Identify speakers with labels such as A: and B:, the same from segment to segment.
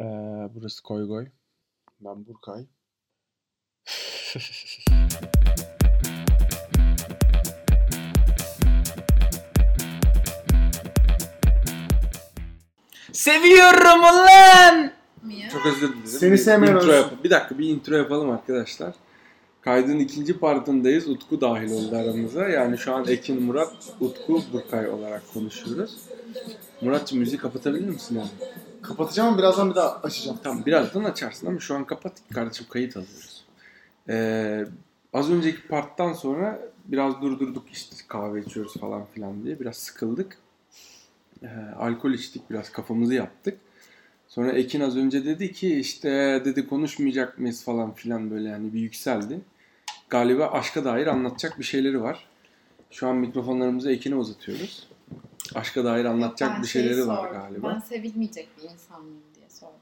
A: Ee, burası Koygoy. Ben Burkay.
B: Seviyorum lan!
C: Mia.
D: Çok özür dilerim.
B: Seni
D: Bir
B: sevmeyen
D: intro
B: olsun.
D: yap- Bir dakika bir intro yapalım arkadaşlar. Kaydın ikinci partındayız. Utku dahil oldu aramıza. Yani şu an Ekin, Murat, Utku, Burkay olarak konuşuyoruz. Murat'cığım müziği kapatabilir misin abi?
B: Kapatacağım ama birazdan bir daha açacağım.
D: Tamam birazdan açarsın ama şu an kapat kardeşim kayıt alıyoruz. Ee, az önceki parttan sonra biraz durdurduk işte kahve içiyoruz falan filan diye. Biraz sıkıldık. Ee, alkol içtik biraz kafamızı yaptık. Sonra Ekin az önce dedi ki işte dedi konuşmayacak mıyız falan filan böyle yani bir yükseldi. Galiba aşka dair anlatacak bir şeyleri var. Şu an mikrofonlarımızı Ekin'e uzatıyoruz. Aşka dair anlatacak
C: Ben
D: bir
C: şeyi
D: şeyleri var
C: sordum.
D: galiba.
C: Ben sevilmeyecek bir insan mıyım diye sordum.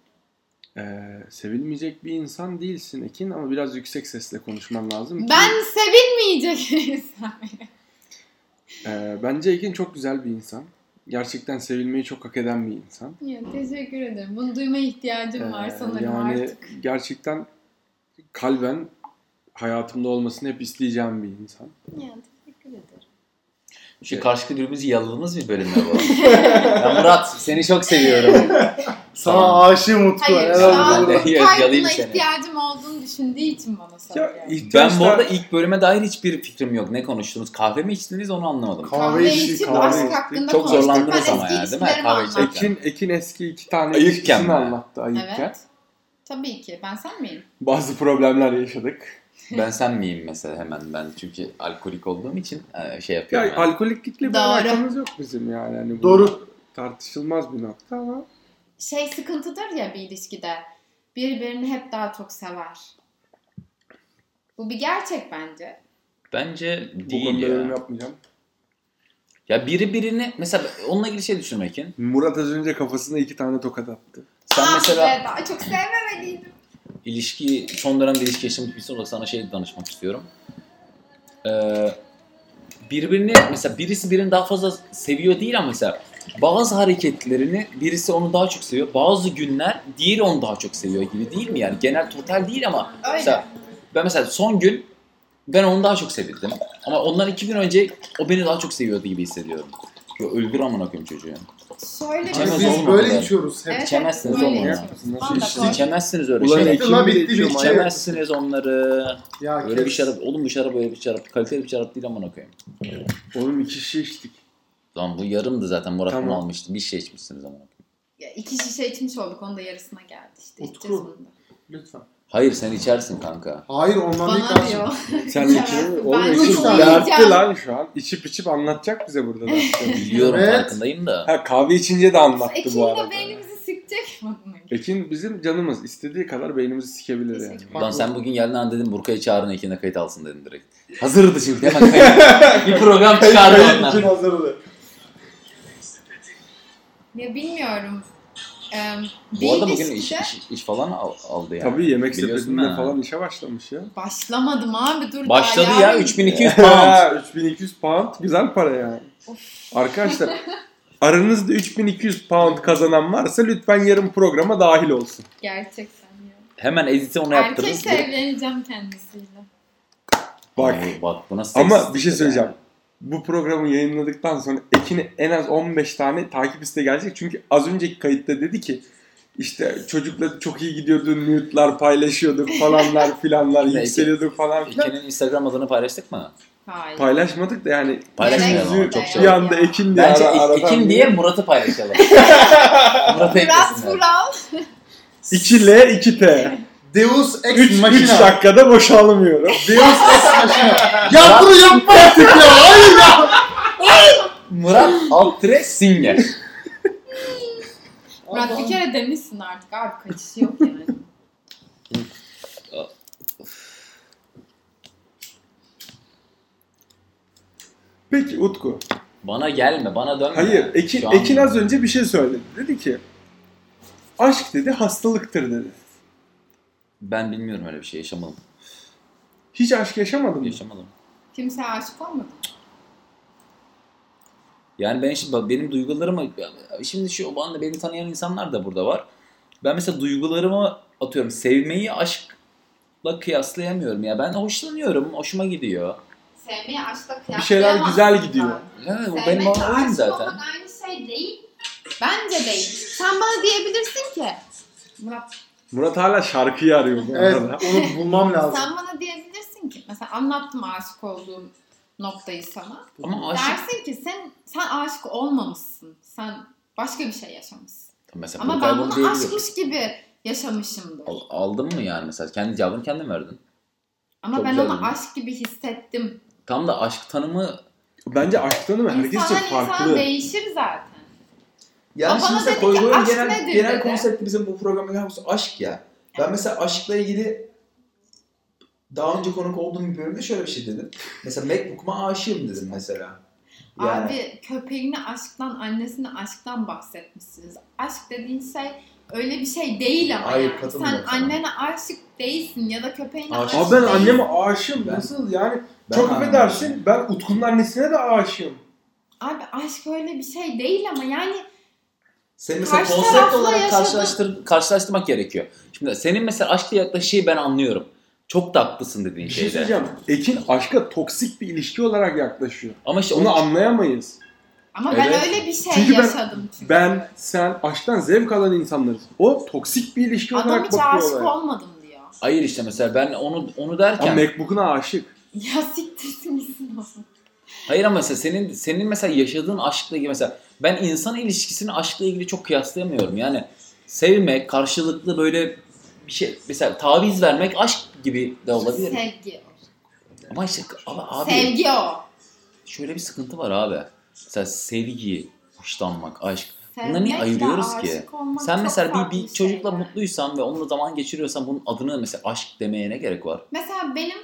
D: Ee, sevilmeyecek bir insan değilsin Ekin ama biraz yüksek sesle konuşman lazım. ki-
C: Ben sevilmeyecek bir insan mıyım?
D: Ee, bence Ekin çok güzel bir insan. Gerçekten sevilmeyi çok hak eden bir insan.
C: Ya, teşekkür ederim. Bunu duymaya ihtiyacım var
D: Ee,
C: sanırım
D: yani
C: artık.
D: gerçekten kalben hayatımda olmasını hep isteyeceğim bir insan.
C: Ya, teşekkür ederim.
E: Şu karşı dürümümüz yalılımız bir bölüm mü bu? ya Murat seni çok seviyorum.
B: Sana
E: Tamam.
B: aşığım Utku.
C: Hayır şu
B: Helal
C: an
B: olsun.
E: Ben de yalayayım
C: kaydına
E: seni.
C: ihtiyacım olduğunu düşündüğü için bana soruyor.
E: ben bu arada ilk bölüme dair hiçbir fikrim yok. Ne konuştunuz? Kahve mi içtiniz onu anlamadım.
B: Kahve
C: kahve
B: içtik,
C: içip
B: kahve
C: aşk
B: içtik.
C: hakkında
E: Çok
C: konuştuk.
E: zorlandınız
C: Ben
E: ama
C: eski
E: yani, değil mi?
C: ilişkilerimi
E: Kahve
C: anlattım.
E: içecek.
D: Ekin, Ekin eski iki tane
E: Ayıpken
D: ilişkisini
E: mi?
D: anlattı ayıpken.
C: Evet. Tabii ki. Ben sen miyim?
D: Bazı problemler yaşadık.
E: Ben sen miyim mesela hemen ben çünkü alkolik olduğum için e, şey
D: Ya
E: yapıyorum. yani.
D: alkoliklikle bir
C: Doğru.
D: alakamız yok bizim yani. Hani bu
B: Doğru.
D: Tartışılmaz bir nokta ama
C: Şey sıkıntıdır ya bir ilişkide. Birbirini hep daha çok sever. Bu bir gerçek bence.
E: Bence
D: bu
E: değil
D: konuda yorum
E: ya.
D: yapmayacağım.
E: Ya biri birini mesela onunla ilgili şey düşünme Ekin.
D: Murat az önce kafasına iki tane tokat attı.
E: Sen
C: Ah
E: mesela
C: be, daha çok sevmemeliydim.
E: ilişki son dönemde ilişki yaşamış birisi olarak sana şey danışmak istiyorum. Ee, birbirini mesela birisi birini daha fazla seviyor değil ama mesela bazı hareketlerini birisi onu daha çok seviyor. Bazı günler diğeri onu daha çok seviyor gibi değil mi yani? Genel total değil ama
C: Öyle.
E: mesela ben mesela son gün ben onu daha çok sevildim. Ama ondan iki gün önce o beni daha çok seviyordu gibi hissediyorum. Ya öldür amına koyayım çocuğu.
C: Şöyle
B: Abi
E: İçemez
C: şey.
B: Biz
E: olmadı
B: böyle
E: yani.
B: içiyoruz hep.
E: içemezsiniz
C: böyle
E: oğlum ya.
C: içiyoruz.
D: Nasıl
C: Bana da
D: içsin?
C: koy.
E: Siz içemezsiniz öyle
D: Ulan
E: şey.
D: Ekin
B: Lan
D: bir
B: bitti,
D: içiyorum,
B: bitti.
D: ayıp.
E: İçemezsiniz onları.
B: Ya
E: Öyle bir şey şarap, oğlum bu şarap öyle bir şarap, kaliteli bir şarap değil amına koyayım.
D: Oğlum iki şişe içtik.
E: Lan bu yarımdı zaten Murat
D: Tamam.
E: bunu almıştı. Bir şey içmişsiniz amına koyayım.
C: Ya iki şişe içmiş olduk. Onun da yarısına geldi işte.
B: Utku.
C: İçeceğiz bunu da.
B: Lütfen.
E: Hayır sen içersin kanka.
B: Hayır ondan değil
C: Bana
B: kardeşim.
C: diyor.
D: Sen
C: Ya,
D: iki,
C: ben
D: oğlum
C: de
D: iki
B: üç tane
D: dertli
C: yiyeceğim.
D: lan şu an. İçip içip anlatacak bize burada. da.
E: Biliyorum
B: Evet.
E: farkındayım da.
D: ha kahve içince de anlattı
C: Ekin
D: bu
C: E, de
D: arada.
C: beynimizi sikecek. Bakmayın.
D: Ekin bizim canımız. İstediği kadar beynimizi sikebilir yani.
C: Teşekkür
E: Lan sen bugün geldin an dedim Burkay'ı çağırın ekine kayıt alsın dedim direkt. Hazırdı şimdi hemen kayıt. bir program çıkardı
B: Hayır, için
E: ondan.
B: hazırladı.
C: Ya bilmiyorum. Ee,
E: Bu arada
C: bir
E: bugün iş,
C: ilişkide-
E: iş, iş falan al- aldı yani.
D: Tabii yemek
E: Biliyorsun
D: sepetinde
E: ha.
D: falan işe başlamış ya.
C: Başlamadım abi dur
E: Başladı
C: daha
E: ya
C: yarın-
E: 3200 pound.
D: 3200 pound güzel para yani. Arkadaşlar aranızda 3200 pound kazanan varsa lütfen yarın programa dahil olsun.
C: Gerçekten ya.
E: Hemen editi ona yaptırırız.
C: Erkekse evleneceğim kendisiyle.
D: Bak.
E: Oo, bak buna
D: Ama
E: seksist
D: bir şey
E: yani.
D: söyleyeceğim. Bu programı yayınladıktan sonra Ekin'e en az 15 tane takip isteği gelecek. Çünkü az önceki kayıtta dedi ki işte çocukla çok iyi gidiyordu, nude'lar paylaşıyorduk falanlar filanlar,
E: Belki.
D: yükseliyorduk falan filan.
E: Ekin'in Instagram adını paylaştık mı?
C: Hayır.
D: Paylaşmadık da yani
E: Paylaşmayalım ama
D: yüzü
E: çok
D: bir
E: şey.
D: anda Ekin diye
E: Bence
D: ara-
E: Ek-
D: aradan
E: Ekin
D: bir-
E: diye Murat'ı paylaşalım. Murat'ı
C: Murat
E: eklesinler.
C: Vural.
D: 2L 2T.
B: Deus Ex
D: 3
B: Machina.
D: dakikada boşalmıyorum.
B: Deus Ex Machina. ya bunu yapma artık ya. Hayır ya.
E: Murat alt tire Singer.
C: Murat bir kere demişsin artık abi kaçışı yok yani.
D: Peki Utku.
E: Bana gelme, bana dönme.
D: Hayır Ekin,
E: Şu an-
D: Ekin az önce bir şey söyledi. Dedi ki aşk dedi hastalıktır dedi.
E: Ben bilmiyorum öyle bir şey, yaşamadım.
D: Hiç aşk yaşamadın mı?
E: Yaşamadım.
C: Kimse aşık olmadı.
E: Yani ben şimdi bak benim duygularımı şimdi şu o anda beni tanıyan insanlar da burada var. ben mesela duygularımı atıyorum. Sevmeyi aşkla kıyaslayamıyorum ya. Ben hoşlanıyorum. Hoşuma gidiyor.
C: Sevmeyi aşkla
D: Bir şeyler
C: kıyaslayamazsın
D: güzel
C: zaten.
D: gidiyor.
E: Evet, bu benim
C: Sevmek ve
E: olayım
C: aşık
E: zaten.
C: olmak aynı şey değil. Bence değil. Sen bana diyebilirsin ki. Murat
D: Murat hala şarkıyı arıyor bu
B: Evet
D: arada.
B: onu bulmam lazım.
C: sen bana diyebilirsin ki. Mesela anlattım aşık olduğum noktayı sana.
E: Ama aşık...
C: Dersin ki sen sen aşık olmamışsın. Sen başka bir şey yaşamışsın.
E: Mesela
C: Ama
E: Burkay
C: ben
E: bunu
C: bunu
E: diyebilir.
C: aşkmış gibi yaşamışımdır.
E: Al- Aldın mı yani mesela? Kendi cevabını kendin verdin.
C: Ama
E: Çok
C: ben
E: güzel
C: onu
E: oldu.
C: aşk gibi hissettim.
E: Tam da aşk tanımı
D: Bence aşk tanımı herkes için
C: İnsanlar insan
D: farklı.
C: değişir zaten.
F: Yani
C: Baba
F: şimdi
C: dedi
F: mesela
C: ki,
F: koy koyun
C: "Aşk
F: genel,
C: nedir?"
F: genel
C: dedi.
F: konsepti bizim bu programın genel konsepti aşk ya. Ben mesela aşkla ilgili daha önce konuk olduğum bir bölümde şöyle bir şey dedim. Mesela Macbook'uma aşığım dedim mesela. Yani
C: Abi köpeğini aşktan, annesini aşktan bahsetmişsiniz. Aşk dediğin şey öyle bir şey değil ama
F: Hayır,
C: yani. Sen
F: katılmıyorum sana.
C: annene aşık değilsin ya da köpeğine aşık,
D: Abi ben
C: değilsin.
D: anneme aşığım.
F: Ben-
D: Nasıl yani?
F: ben
D: Çok
F: anlamadım.
D: affedersin. Ben Utku'nun annesine de aşığım.
C: Abi aşk öyle bir şey değil ama yani
F: Senin mesela
C: karşı
F: konsept
C: tarafla
F: olarak
C: yaşa-
E: karşılaştır, karşılaştırmak gerekiyor. Şimdi senin mesela aşkla yaklaşıyı ben anlıyorum. Çok da haklısın dediğin
D: Bir şey
E: şeyde.
D: söyleyeceğim. Ekin aşka toksik bir ilişki olarak yaklaşıyor.
E: Ama işte
D: Onu
E: onu
D: anlayamayız.
C: ama ben
E: Evet.
C: öyle bir şey
D: Çünkü ben-
C: yaşadım çünkü.
D: Ben, sen aşktan zevk alan insanlarız. O toksik bir ilişki
C: Adam
D: şey olarak
C: hiç aşık
D: bakıyor olaya.
C: olmadım diyor.
E: hayır işte mesela ben onu onu
D: Ama
E: derken
D: Macbook'una aşık.
C: Ya siktirsin gitsin o zaman.
E: hayır ama mesela senin senin mesela yaşadığın aşkla ilgili mesela ben insan ilişkisini aşkla ilgili çok kıyaslayamıyorum. Yani sevmek karşılıklı böyle bir şey mesela taviz vermek aşk gibi de olabilir.
C: Sevgi o.
E: Ama işte ama abi
C: Sevgi o.
E: şöyle bir sıkıntı var abi. Mesela sevgi, hoşlanmak, aşk. Bunları niye
C: Sevmekle
E: ayırıyoruz ki?
C: aşık olmak
E: Sen
C: çok
E: mesela bir,
C: farklı şey.
E: bir çocukla
C: şeyler.
E: mutluysan ve onunla zaman geçiriyorsan bunun adını mesela aşk demeye ne gerek var?
C: Mesela benim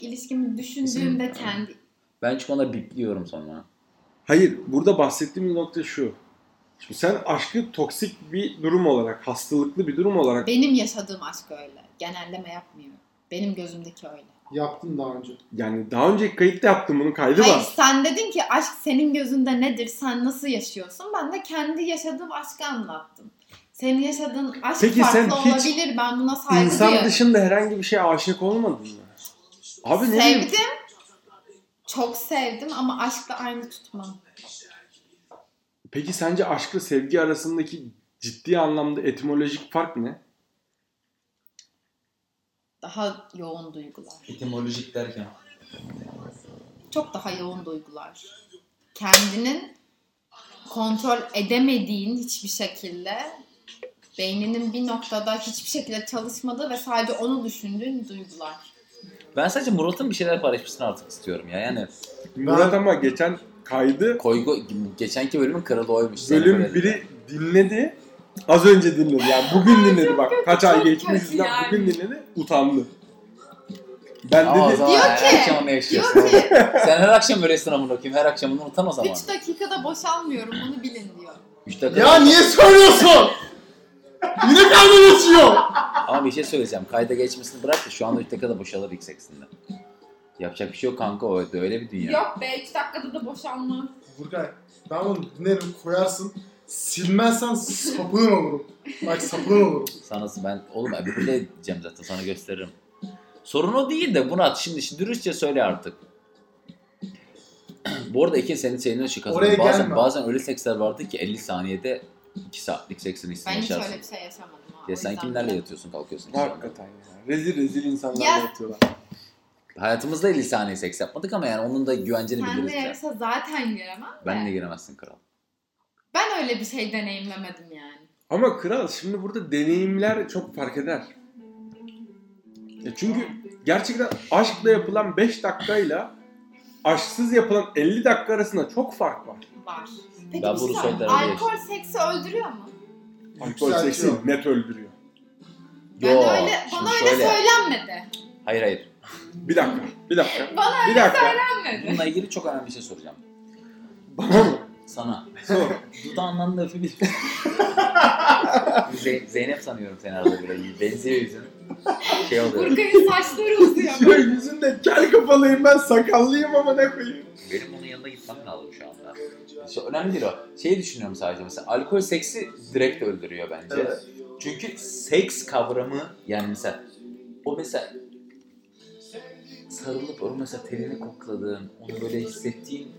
C: ilişkimi düşündüğümde kendi
E: Ben çünkü onları bipliyorum sonra.
D: Hayır, burada bahsettiğim nokta şu. Şimdi sen aşkı toksik bir durum olarak, hastalıklı bir durum olarak
C: Benim yaşadığım aşk öyle. Genelleme yapmıyorum. Benim gözümdeki öyle.
B: Yaptım daha önce.
D: yani daha önceki kayıtta yaptım bunun kaydı
C: Hayır
D: var.
C: sen dedin ki aşk senin gözünde nedir? Sen nasıl yaşıyorsun? Ben de kendi yaşadığım aşkı anlattım. Senin yaşadığın aşk
D: Peki
C: farklı
D: sen hiç
C: olabilir. Ben buna saygı
D: İnsan
C: duyuyorum.
D: dışında herhangi bir şeye aşık olmadın mı? Abi ne bileyim.
C: Sevdim. Çok sevdim ama aşkla aynı tutmam.
D: Peki sence aşkla sevgi arasındaki ciddi anlamda etimolojik fark ne?
C: Daha yoğun duygular.
F: etimolojik derken.
C: Çok daha yoğun duygular. Kendinin kontrol edemediğin hiçbir şekilde beyninin bir noktada hiçbir şekilde çalışmadığı ve sadece onu düşündüğün duygular.
E: Ben sadece Murat'ın bir şeyler paylaşmasını artık istiyorum ya. Yani
D: Murat ama geçen kaydı
E: koygu geçenki bölümün kralı oymuş. Sana böyle
D: bölüm
E: dedi.
D: biri dinledi. Az önce dinledi yani bugün dinledi bak kaç ay
C: çok
D: geçmiş
C: kötü
D: üstünden
C: yani.
D: bugün dinledi utandı. Ben
E: Ama o
D: dedi
E: zaman
C: Diyor
E: her
C: ki-
E: akşam onu
C: Diyor
E: yaşıyorsun.
C: ki
E: Sen her akşam öylesin amına koyayım. Her akşam bunu unutan o zaman.
C: 3 dakikada boşalmıyorum bunu bilin diyor.
E: 3 dakika.
B: Ya niye söylüyorsun? Yine kalbim geçiyor.
E: Ama bir şey söyleyeceğim. Kayda geçmesini bırak da şu anda 3 dakikada boşalır ilk seksinde. Yapacak bir şey yok kanka o öyle bir dünya.
C: Yok be 3 dakikada da boşalma.
B: Burkay ben bunu dinlerim koyarsın. Silmezsen sapın olurum. Bak sapın olurum.
E: Sana ben oğlum öbürü de edeceğim zaten sana gösteririm. Sorun o değil de Murat şimdi, şimdi dürüstçe söyle artık. Bu arada Ekin senin senin için kazandı.
B: Oraya
E: Bazen,
B: gelme.
E: bazen öyle seksler vardı ki 50 saniyede 2 saatlik seksin hissini
C: Ben hiç
E: yaşarsın.
C: öyle bir şey yaşamadım. ha, o
E: Ya sen
C: yüzden
E: kimlerle
C: bile.
E: yatıyorsun kalkıyorsun?
D: hakikaten ya. Rezil rezil insanlar
C: Ya.
D: yatıyorlar.
E: Hayatımızda 50 saniye seks yapmadık ama yani onun da güvencini
C: Sen de
E: biliriz. ya.
C: yarışa zaten giremem de.
E: Ben
C: Ben,
E: de giremezsin kral.
C: öyle bir şey deneyimlemedim yani.
D: Ama kral şimdi burada deneyimler çok fark eder. Ya çünkü gerçekten aşkla yapılan 5 dakikayla aşksız yapılan 50 dakika arasında çok fark var.
C: Var. Peki
E: Ben
C: bir
E: bunu
C: şey söyleyeyim.
E: söylerim diye
C: Alkol seksi öldürüyor mu?
D: Alkol seksi net öldürüyor.
C: Ben
E: Yo,
C: öyle,
E: şimdi
C: bana öyle
E: şöyle.
C: söylenmedi.
E: Hayır hayır.
D: Bir dakika, bir dakika,
C: Bana
D: bir dakika.
C: söylenmedi.
E: Bununla ilgili çok önemli bir şey soracağım.
D: Bana mı?
E: Sana.
D: Sor.
E: Dudağından da öpebilir misin? Ze- Zeynep sanıyorum seni arada böyle. Benziyor yüzün. Şey oluyor.
C: Burkay'ın saçları uzuyor.
D: Şöyle yüzünde kel kafalıyım ben sakallıyım ama ne koyayım.
E: Benim onun yanına gitmem lazım şu anda. İşte önemli değil o. Şeyi düşünüyorum sadece mesela alkol seksi direkt öldürüyor bence.
G: Evet.
E: Çünkü seks kavramı yani mesela o mesela sarılıp onu mesela telini kokladığın, onu böyle hissettiğin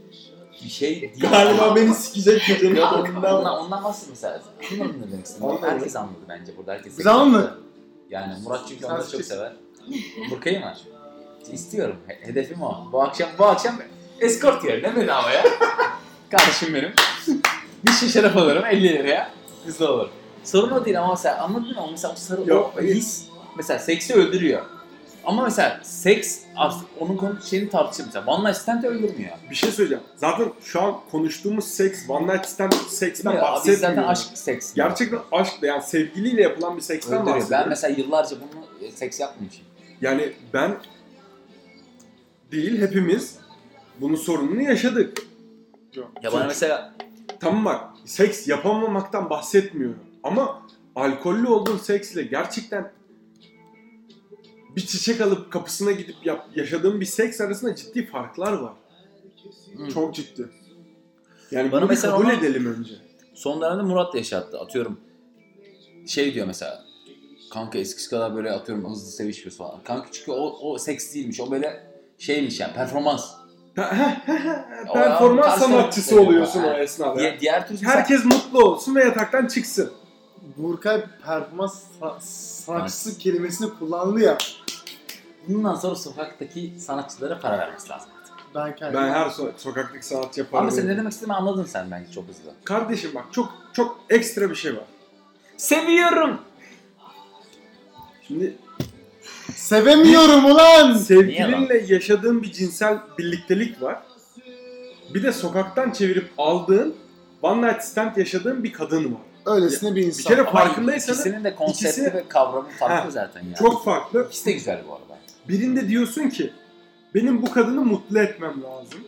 E: bir şey değil.
G: Galiba beni sikecek gecenin
E: Yok,
G: sonunda.
E: ondan, ondan bahsediyorum mesela. Anladın ne demek istediğimi?
G: Anladım.
E: Herkes anladı bence burada. Herkes
B: Biz anladık.
E: anladı. Yani Murat çünkü
B: Sen
E: onları çok
B: seç.
E: sever. Burkayı mı? İstiyorum. He- hedefim o. Bu akşam bu akşam eskort yerine bedava ya. Kardeşim benim. Bir şişe şarap alırım 50 liraya. Güzel olur. Sorun o değil ama mesela anladın mı? Mesela o sarı
G: Yok,
E: o his mesela seksi öldürüyor. Ama mesela seks artık onun konu şeyini tartışıyor mesela. One night stand öldürmüyor.
D: Bir şey söyleyeceğim. Zaten şu an konuştuğumuz seks, one night stand seksten
E: Değil mi? Abi
D: bahsetmiyoruz.
E: zaten aşk seks.
D: Gerçekten aşkla yani sevgiliyle yapılan bir seksten
E: Öldürüyor.
D: bahsediyoruz.
E: Ben mesela yıllarca bunu e, seks yapmamışım.
D: Yani ben değil hepimiz bunun sorununu yaşadık.
E: Ya bana
D: Çünkü-
E: mesela
D: Tamam bak seks yapamamaktan bahsetmiyorum. Ama alkollü olduğun seksle gerçekten bir çiçek alıp kapısına gidip yap, yaşadığın bir seks arasında ciddi farklar var.
E: Hı.
D: Çok ciddi. Yani
E: Bana
D: bunu bir
E: mesela
D: kabul
E: ama-
D: edelim önce.
E: son dönemde Murat da yaşattı. Atıyorum şey diyor mesela. Kanka eskisi kadar böyle atıyorum hızlı sevişmiyoruz falan. Kanka çünkü o, o seks değilmiş. O böyle şeymiş yani performans.
D: Pe- heh, heh, heh,
E: O adam
D: Performans
E: karşı
D: sanatçısı
E: tarafı
D: oluyorsun o
E: seviyor.
D: esnada.
E: Diğer, diğer türlü mesela-
D: Herkes mutlu olsun ve yataktan çıksın.
B: Burkay performans sa- sanatçısı kelimesini kullandı ya.
E: bundan sonra sokaktaki sanatçılara para vermesi lazım.
B: Ben kendim.
D: Ben her so- sokaktaki sanatçı yaparım.
E: Ama sen ne demek istediğimi anladın sen bence çok hızlı.
D: Kardeşim bak çok çok ekstra bir şey var.
E: Seviyorum.
D: Şimdi
B: Sevemiyorum ulan!
D: sevgilinle yaşadığın bir cinsel birliktelik var. Bir de sokaktan çevirip aldığın one night stand yaşadığın bir kadın var.
B: Öylesine bir
D: Bir
B: insan.
D: kere
E: Ama
D: farkındaysanız
E: İkisinin de konsepti
D: ikisi-
E: ve kavramı farklı
D: Ha,
E: zaten yani.
D: çok farklı.
E: İkisi de güzel bu arada.
D: Birinde diyorsun ki benim bu kadını mutlu etmem lazım.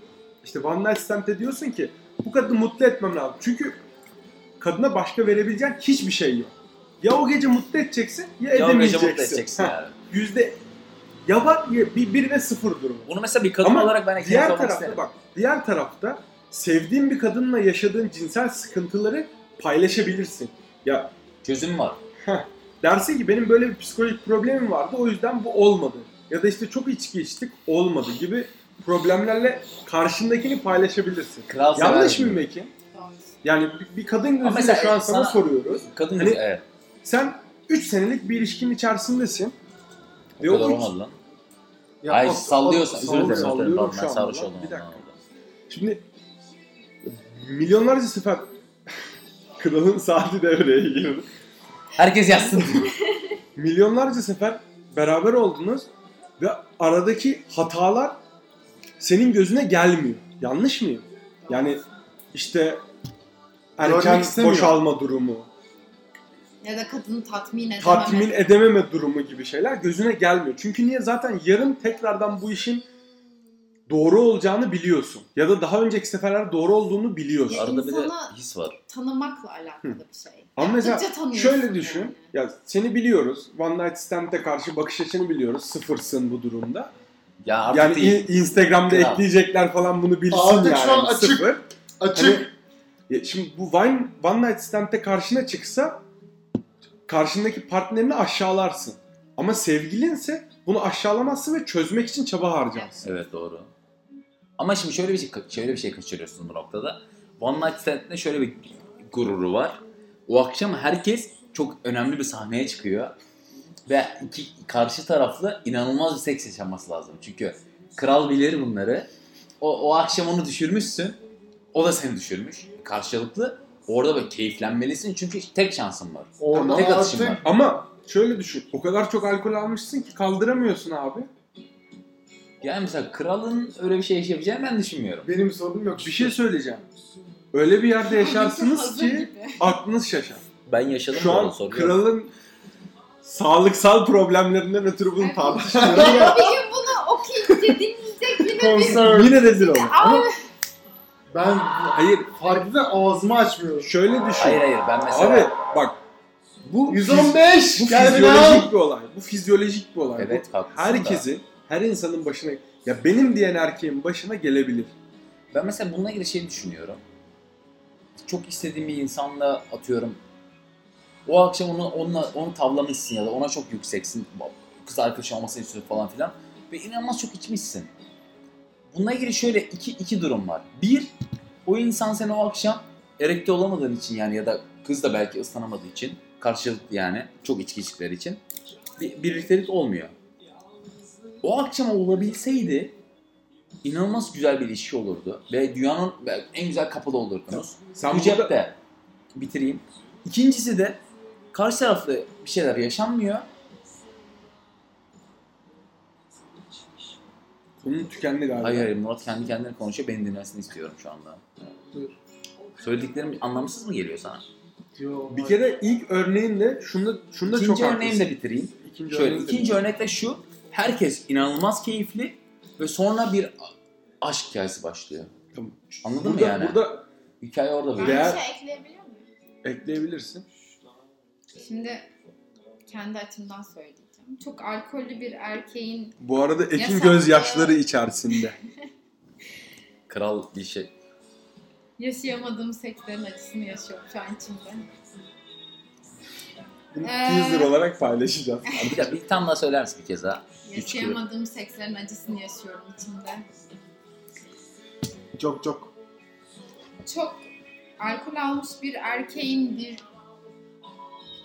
D: İşte one night stand'te diyorsun ki bu kadını mutlu etmem lazım. Çünkü kadına başka verebileceğin hiçbir şey yok. Ya o gece mutlu edeceksin ya,
E: Ya o gece
D: edemeyeceksin.
E: mutlu edeceksin
D: Heh,
E: yani.
D: Yüzde ya bak ya bir, birine sıfır durumu.
E: Bunu mesela bir kadın
D: Ama
E: olarak ben eklemek
D: Diğer
E: olmak
D: tarafta
E: isterim.
D: bak, diğer tarafta sevdiğin bir kadınla yaşadığın cinsel sıkıntıları paylaşabilirsin. Ya
E: Çözüm var.
D: dersin ki benim böyle bir psikolojik problemim vardı o yüzden bu olmadı. Ya da işte çok içki içtik olmadı gibi problemlerle karşındakini paylaşabilirsin.
E: Kral
D: Yanlış
E: sever
D: mı
E: bunu.
D: Mekin? Yani bir, bir kadın gözüyle
E: mesela
D: şu an sana,
E: sana-
D: soruyoruz.
E: Kadın
D: Hani-
E: hani, evet.
D: Sen 3 senelik bir ilişkinin içerisindesin.
E: O
D: Ve
E: kadar
D: o üç-
E: olmadı lan.
D: şey-
B: Ya
E: Hayır
B: at-
E: sallıyorsun.
B: at-
E: Özür dilerim. özür dilerim.
D: sallıyorum
E: Pardon,
D: şu
E: Ben
D: anda
E: sarhoş
D: lan.
E: oldum.
D: Bir
E: ondan
D: dakika.
E: oldu.
D: Şimdi milyonlarca sefer kralın saati devreye girdi.
E: Herkes yazsın.
D: Milyonlarca sefer beraber oldunuz ve aradaki hatalar senin gözüne gelmiyor. Yanlış mıyım? Yani işte erken
B: Görmek istemiyor.
D: boşalma durumu,
C: Ya da kadını tatmin edememe.
D: tatmin edememe durumu gibi şeyler gözüne gelmiyor. Çünkü niye? Zaten yarın tekrardan bu işin doğru olacağını biliyorsun. Ya da daha önceki seferler doğru olduğunu biliyorsun.
C: Ya
E: Arada bir de
C: insana-
E: his var.
C: Tanımakla alakalı bir şey.
D: Ama mesela
C: Yaptıkça tanıyorsun
D: Şöyle
C: yani.
D: düşün. Ya seni biliyoruz. One Night Stand'e karşı bakış açını biliyoruz. Sıfırsın bu durumda.
E: Ya artık
D: yani
E: değil.
D: in- Instagram'da
E: Kral.
D: ekleyecekler falan bunu bilsin
B: Artık
D: yani.
B: şu an açık.
D: Sıfır.
B: Açık.
D: Hani- Ya şimdi bu One, One Night Stand'e karşına çıksa karşındaki partnerini aşağılarsın. Ama sevgilinse bunu aşağılamazsın ve çözmek için çaba harcarsın.
E: Evet doğru. Ama şimdi şöyle bir şey, şöyle bir şey kaçırıyorsun bu noktada. One Night Stand'de şöyle bir gururu var. O akşam herkes çok önemli bir sahneye çıkıyor. Ve iki karşı taraflı inanılmaz bir seks yaşaması lazım. Çünkü kral bilir bunları. O, o akşam onu düşürmüşsün. O da seni düşürmüş. Karşılıklı. Orada böyle keyiflenmelisin çünkü tek şansın var.
B: Orada
E: tek atışın
B: artık
E: var.
D: Ama şöyle düşün. O kadar çok alkol almışsın ki kaldıramıyorsun abi.
E: Yani mesela kralın öyle bir şey yaşayabileceğini ben düşünmüyorum.
B: benim sorunum yok.
D: Bir şey söyleyeceğim. Öyle bir yerde yaşarsınız
C: Hazır
D: ki
C: gibi.
D: aklınız şaşar.
E: Ben yaşadım
D: Şu
E: bu arada,
D: an
E: soruyorum.
D: kralın sağlıksal problemlerinden ötürü bunu
C: Evet.
D: tartışıyoruz ama
C: Bir gün bunu okuyunca dinleyecek yine bir...
D: yine rezil olur.
C: Ama
B: Ben
D: Hayır
B: fark eden ağzımı açmıyorum.
D: şöyle düşün.
E: Hayır hayır ben mesela...
D: Abi bak bu
B: 115!
D: bu
B: Gel beni al!
D: fizyolojik bir olay. Bu fizyolojik bir olay.
E: Evet
D: Bu
E: haklısın da.
D: herkesin, her insanın başına ya benim diyen erkeğin başına gelebilir.
E: Ben mesela bununla ilgili şey düşünüyorum. çok istediğim bir insanla atıyorum o akşam onu onunla onu tavlamışsın ya da ona çok yükseksin. Kız arkadaşı olmasını istiyorsun falan filan ve inanılmaz çok içmişsin. Bununla ilgili şöyle iki iki durum var. Bir, o insan seni o akşam erekte olamadığın için yani ya da kız da belki ıslanamadığı için karşılıklı yani çok içki içtikleri için bir birliktelik olmuyor. O akşam olabilseydi inanılmaz güzel bir ilişki olurdu ve dünyanın en güzel kapıda olurdunuz.
D: Sen
E: Bu
D: burada
E: cepte bitireyim. İkincisi de karşı tarafta bir şeyler yaşanmıyor.
D: bunun tükendi galiba.
E: Hayır hayır Murat kendi kendine konuşuyor. Beni dinlemesini istiyorum şu anda.
H: Buyur.
E: Söylediklerim anlamsız mı geliyor sana?
H: Yo,
D: Bir kere ilk örneğimle şunu şunu da çok
E: İkinci örneğimi
D: haklısın.
E: de bitireyim.
D: İkinci
E: Şöyle
D: örneğimle
E: ikinci örnek de şu. Herkes inanılmaz keyifli ve sonra bir aşk hikayesi başlıyor.
D: Tamam.
E: Anladın
D: burada,
E: mı yani?
D: Burada
E: Hikaye orada
C: Ben
E: böyle.
D: Veya-
C: bir şey ekleyebiliyor muyum?
D: ekleyebilirsin.
C: Şimdi kendi açımdan söyleyeceğim. Çok alkollü bir erkeğin
D: Bu arada Ekin
C: Yasak.
D: gözyaşları içerisinde.
E: Kral bir şey.
C: yaşayamadığım sekslerin acısını yaşıyorum şu an içimde.
D: Bunu
C: Ee.
D: teaser olarak paylaşacağız.
E: Abi bir, daha- bir tam daha söyler misin bir kez daha? Üç kilo.
C: Yaşayamadığım sekslerin acısını yaşıyorum içimde.
B: Çok çok.
C: Çok alkol almış bir erkeğin bir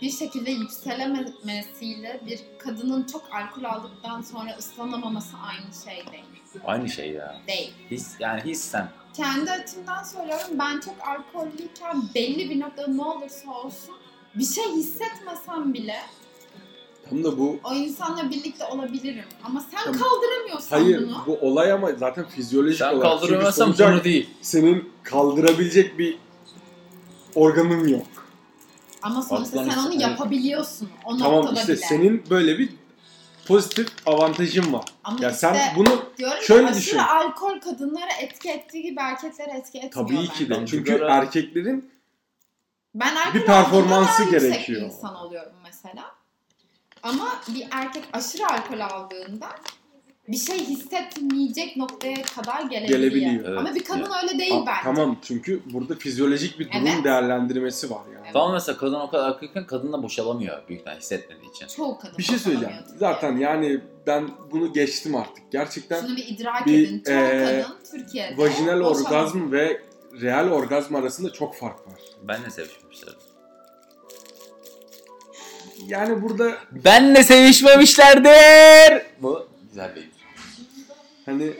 C: bir şekilde yükselememesiyle bir kadının çok alkol aldıktan sonra ıslanamaması aynı şey değil.
E: Aynı şey ya.
C: Değil.
E: His, yani hissen.
C: kendi açımdan söylüyorum ben çok alkollüyken belli bir noktada ne olursa olsun bir şey hissetmesem bile
D: Tam da bu
C: o insanla birlikte olabilirim. Ama sen
D: Tamam.
C: kaldıramıyorsun
D: Hayır
C: bunu.
D: bu olay ama zaten fizyolojik
E: Sen
D: olarak.
E: kaldıramıyorsan
D: Çünkü
E: bunu
D: sonuca
E: değil.
D: senin kaldırabilecek bir organın yok.
C: Ama sonuçta
E: Aslan
C: sen onu
E: işte-
C: yapabiliyorsun. O
D: hani Tamam
C: noktada
D: işte
C: bile.
D: senin böyle bir pozitif avantajın var.
C: Ama
D: Ya
C: işte
D: sen bunu
C: diyorum ki
D: şöyle
C: aşırı
D: düşün.
C: alkol kadınlara etki ettiği gibi erkeklere etki etmiyor.
D: tabii ki
E: Ben
D: de çünkü
E: sigara-
D: erkeklerin
C: Ben alkol
D: Bir performansı
C: aldığımda daha yüksek
D: gerekiyor.
C: bir insan oluyorum mesela. Ama bir erkek aşırı alkol aldığında bir şey hissetmeyecek noktaya kadar gelebiliyor.
D: Gelebiliyor.
E: Evet.
C: Ama bir kadın öyle değil
D: Aa,
C: bence.
D: tamam çünkü burada fizyolojik bir durum
C: Evet.
D: değerlendirmesi var yani.
C: Evet.
E: Tamam mesela kadın o kadar akıllıken kadın da boşalamıyor büyük ihtimalle hissetmediği için.
C: Çoğu kadın
D: Bir şey söyleyeceğim.
C: boşanamıyor Türkiye'de.
D: Zaten yani ben bunu geçtim artık. Gerçekten
C: Şunu bir idrak
D: bir,
C: edin. Çoğu
D: eee,
C: kadın Türkiye'de
D: vajinal
C: boşanamıyor.
D: orgazm ve real orgazm arasında çok fark var.
E: Benle sevişmişler.
D: Yani burada
E: Benle sevişmemişlerdir. Bu güzel bir
D: hani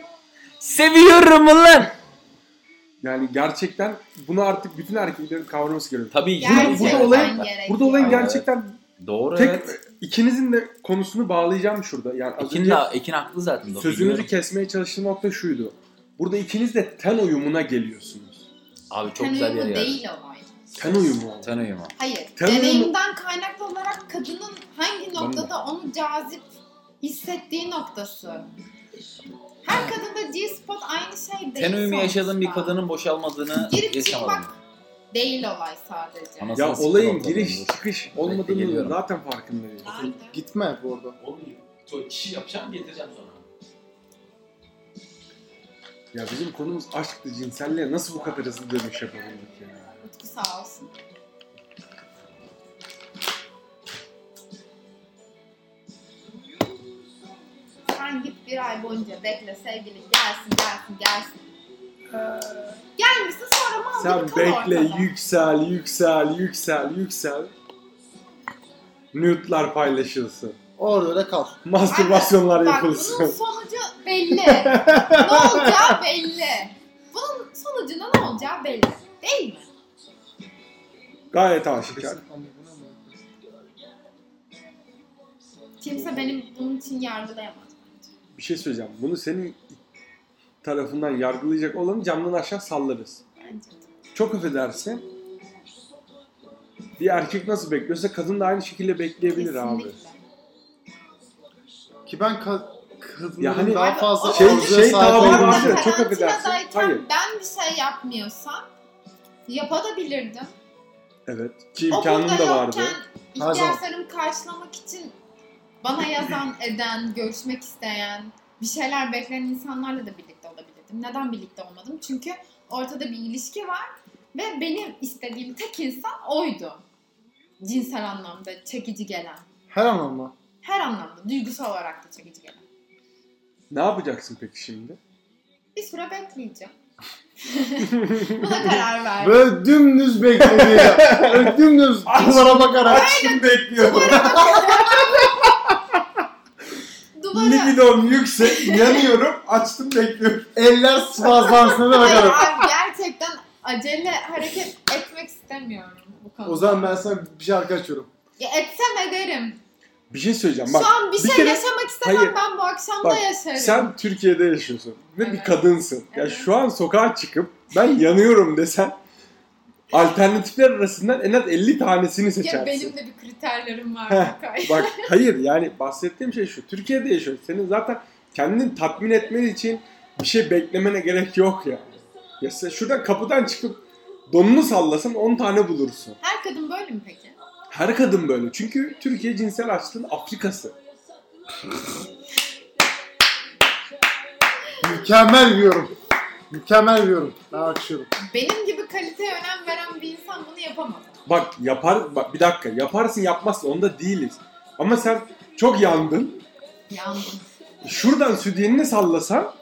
E: Seviyorum lan.
D: yani gerçekten bunu artık bütün erkeklerin kavraması gerekiyor.
E: Tabii ki.
C: Gerçekten
D: burada olay-
C: gerekiyor.
D: Burada olayın
E: Aynen.
D: gerçekten
E: Doğru
D: Tek
E: evet.
D: ikinizin de konusunu bağlayacağım şurada. Yani az
E: Ekin,
D: önce
E: de, Ekin haklı zaten. doğru.
D: sözünüzü kesmeye çalıştığım nokta şuydu. Burada ikiniz de ten uyumuna geliyorsunuz.
E: Abi çok
C: Ten
E: güzel bir
C: uyumu
E: yer.
C: değil olay.
D: Ten uyumu. oldu.
E: Ten uyumu.
C: Hayır.
D: Ten uyumu-
C: deneyimden kaynaklı olarak kadının hangi noktada onu cazip hissettiği noktası. Her kadında G-spot aynı şey değil.
E: Ten uyumu yaşadığın bir
C: sonuçta.
E: kadının boşalmadığını
C: Girip
E: yaşamadım.
C: çıkmak değil olay sadece.
E: Anasını
D: Ya
E: siktir
D: olayın
E: ortadan
D: giriş
E: dur.
D: çıkış
E: geliyorum.
D: olmadığını zaten farkındayım.
C: Nerede?
B: Gitme bu arada.
E: Oğlum kişi yapacağım getireceğim sonra.
D: Ya bizim konumuz aşktı, cinselliğe nasıl bu kadar hızlı dönüş yapabildik ya?
C: Utku sağ olsun. Sen git bir ay boyunca bekle sevgilin gelsin gelsin gelsin. Gelmişsin sonra mal
D: Ee, Sen
C: gibi kal
D: bekle,
C: ortada.
D: yüksel, yüksel, yüksel, yüksel. Nude'lar paylaşılsın.
B: Orada öyle kal.
D: Mastürbasyonlar
C: Bak bunun
D: yapılsın.
C: sonucu belli. ne olacağı belli. Bunun sonucunda ne olacağı belli. Değil mi?
D: Gayet aşikar.
C: Kimse benim bunun için yargılayamaz.
D: Bir şey söyleyeceğim. Bunu senin tarafından yargılayacak olanı camdan aşağı sallarız.
C: Bence.
D: Çok affedersin. Bir erkek nasıl bekliyorsa kadın da aynı şekilde bekleyebilir abi.
C: Kesinlikle.
B: Ki ben ka- kadınların
D: Ya hani-
B: daha fazla
D: Şey-
B: arzuya
D: şey
B: sahip
D: tabiri
B: olduğunu-
D: var ya. çok
C: Karantinadayken
D: affedersin. Hayır.
C: Ben bir şey yapmıyorsam yapabilirdim.
D: Evet. Ki
C: O
D: imkanım
C: burada
D: da vardı.
C: yokken
B: Her zaman.
C: ihtiyaçlarımı karşılamak için bana yazan, eden, görüşmek isteyen, bir şeyler bekleyen insanlarla da birlikte olabilirdim. Neden birlikte olmadım? Çünkü ortada bir ilişki var Ve benim istediğim tek insan oydu. Cinsel anlamda çekici gelen.
B: Her anlamda.
C: Her anlamda. Duygusal olarak da çekici gelen.
D: Ne yapacaksın peki şimdi?
C: Bir süre bekleyeceğim. Buna karar verdim.
B: Böyle dümdüz bekleyeceğim. Böyle dümdüz duvara bakarak.
F: Kim bekliyor?
C: Duvara.
F: Libidom yüksek, yanıyorum, açtım bekliyorum.
B: Eller sıvazlansına da
C: Hayır,
B: bakarım.
C: abi, gerçekten acele hareket etmek istemiyorum bu konuda.
B: O zaman ben sana bir şarkı açıyorum.
C: Ya etsem ederim.
D: Bir şey söyleyeceğim.
C: Şu
D: Bak
C: an bir,
D: bir
C: şey
D: kere-
C: yaşamak istemem
D: Hayır.
C: ben bu akşam da
D: Bak,
C: yaşarım.
D: sen Türkiye'de yaşıyorsun ve bir
C: Hani Evet.
D: kadınsın. Ya
C: Evet.
D: şu an sokağa çıkıp ben yanıyorum desen alternatifler arasından en az 50 tanesini seçersin.
C: ya benim de bir kriterlerim var.
D: Heh.
C: Berkay.
D: Bak hayır yani bahsettiğim şey şu. Türkiye'de yaşıyorsun. Senin zaten kendini tatmin etmen için bir şey beklemene gerek yok ya. Ya sen şuradan kapıdan çıkıp donunu sallasan 10 tane bulursun.
C: Her kadın böyle mi peki?
D: Her kadın böyle. Çünkü Türkiye cinsel açlığın Afrikası.
B: Mükemmel diyorum. Mükemmel diyorum. Ben açıyorum.
C: Benim gibi kaliteye önem veren bir insan bunu yapamaz.
D: Bak yapar bak bir dakika yaparsın yapmazsın onda değiliz. Ama sen çok yandın.
C: Yandım.
D: Şuradan sütyenini sallasan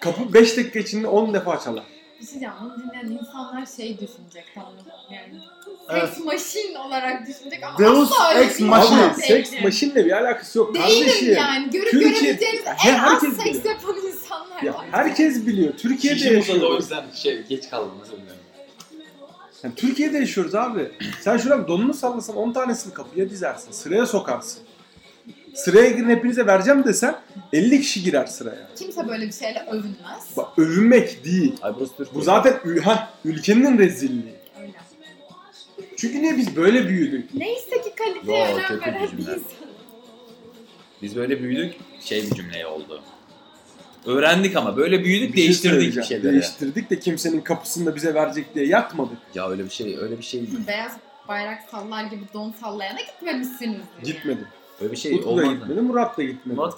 D: kapı 5 dakika içinde 10 defa çalar.
C: Bir şey diyeceğim. Bunu dinleyen insanlar şey düşünecek tamam. Yani
B: Evet.
C: sex machine olarak düşünecek ama
B: Deus
C: asla öyle
B: ex
C: bir
B: machina.
C: insan
D: Ama
B: Maşin.
D: seks
C: değilim.
D: maşinle bir alakası yok kardeşim.
C: Değilim yani. Görüp
D: Türkiye-
C: görebileceğiniz
D: Ya
C: en az
D: herkes
C: seks
D: biliyor.
C: yapan insanlar
D: Ya
C: var.
D: herkes biliyor. Türkiye'de yaşıyoruz.
E: yüzden şey geç kaldım özür dilerim.
D: Yani Türkiye'de yaşıyoruz abi. Sen şuradan donunu sallasan 10 tanesini kapıya dizersin. Sıraya sokarsın. Sıraya girin hepinize vereceğim desen 50 kişi girer sıraya.
C: Kimse böyle bir şeyle övünmez.
D: Bak övünmek değil.
E: Ay burası Türkiye.
D: Bu zaten ül- ha, ülkenin rezilliği.
C: Öyle.
D: Çünkü niye biz böyle büyüdük?
C: Neyse ki kaliteye
E: Yo,
C: önem
E: kötü
C: veren bir
E: cümle.
C: insan.
E: Biz böyle büyüdük şey bir cümle oldu. Öğrendik ama böyle büyüdük
D: Bir şey
E: değiştirdik bir
D: söyleyeceğim.
E: şeyleri.
D: Değiştirdik de kimsenin kapısında bize verecek diye yatmadık.
E: Ya öyle bir şey öyle bir şey
C: Siz beyaz bayrak sallar gibi don sallayana gitmemişsiniz.
D: Gitmedim.
E: öyle
B: Ee,
E: bir şey
D: Utku da
E: olmaz.
D: gitmedi, Murat da gitmedi. Murat,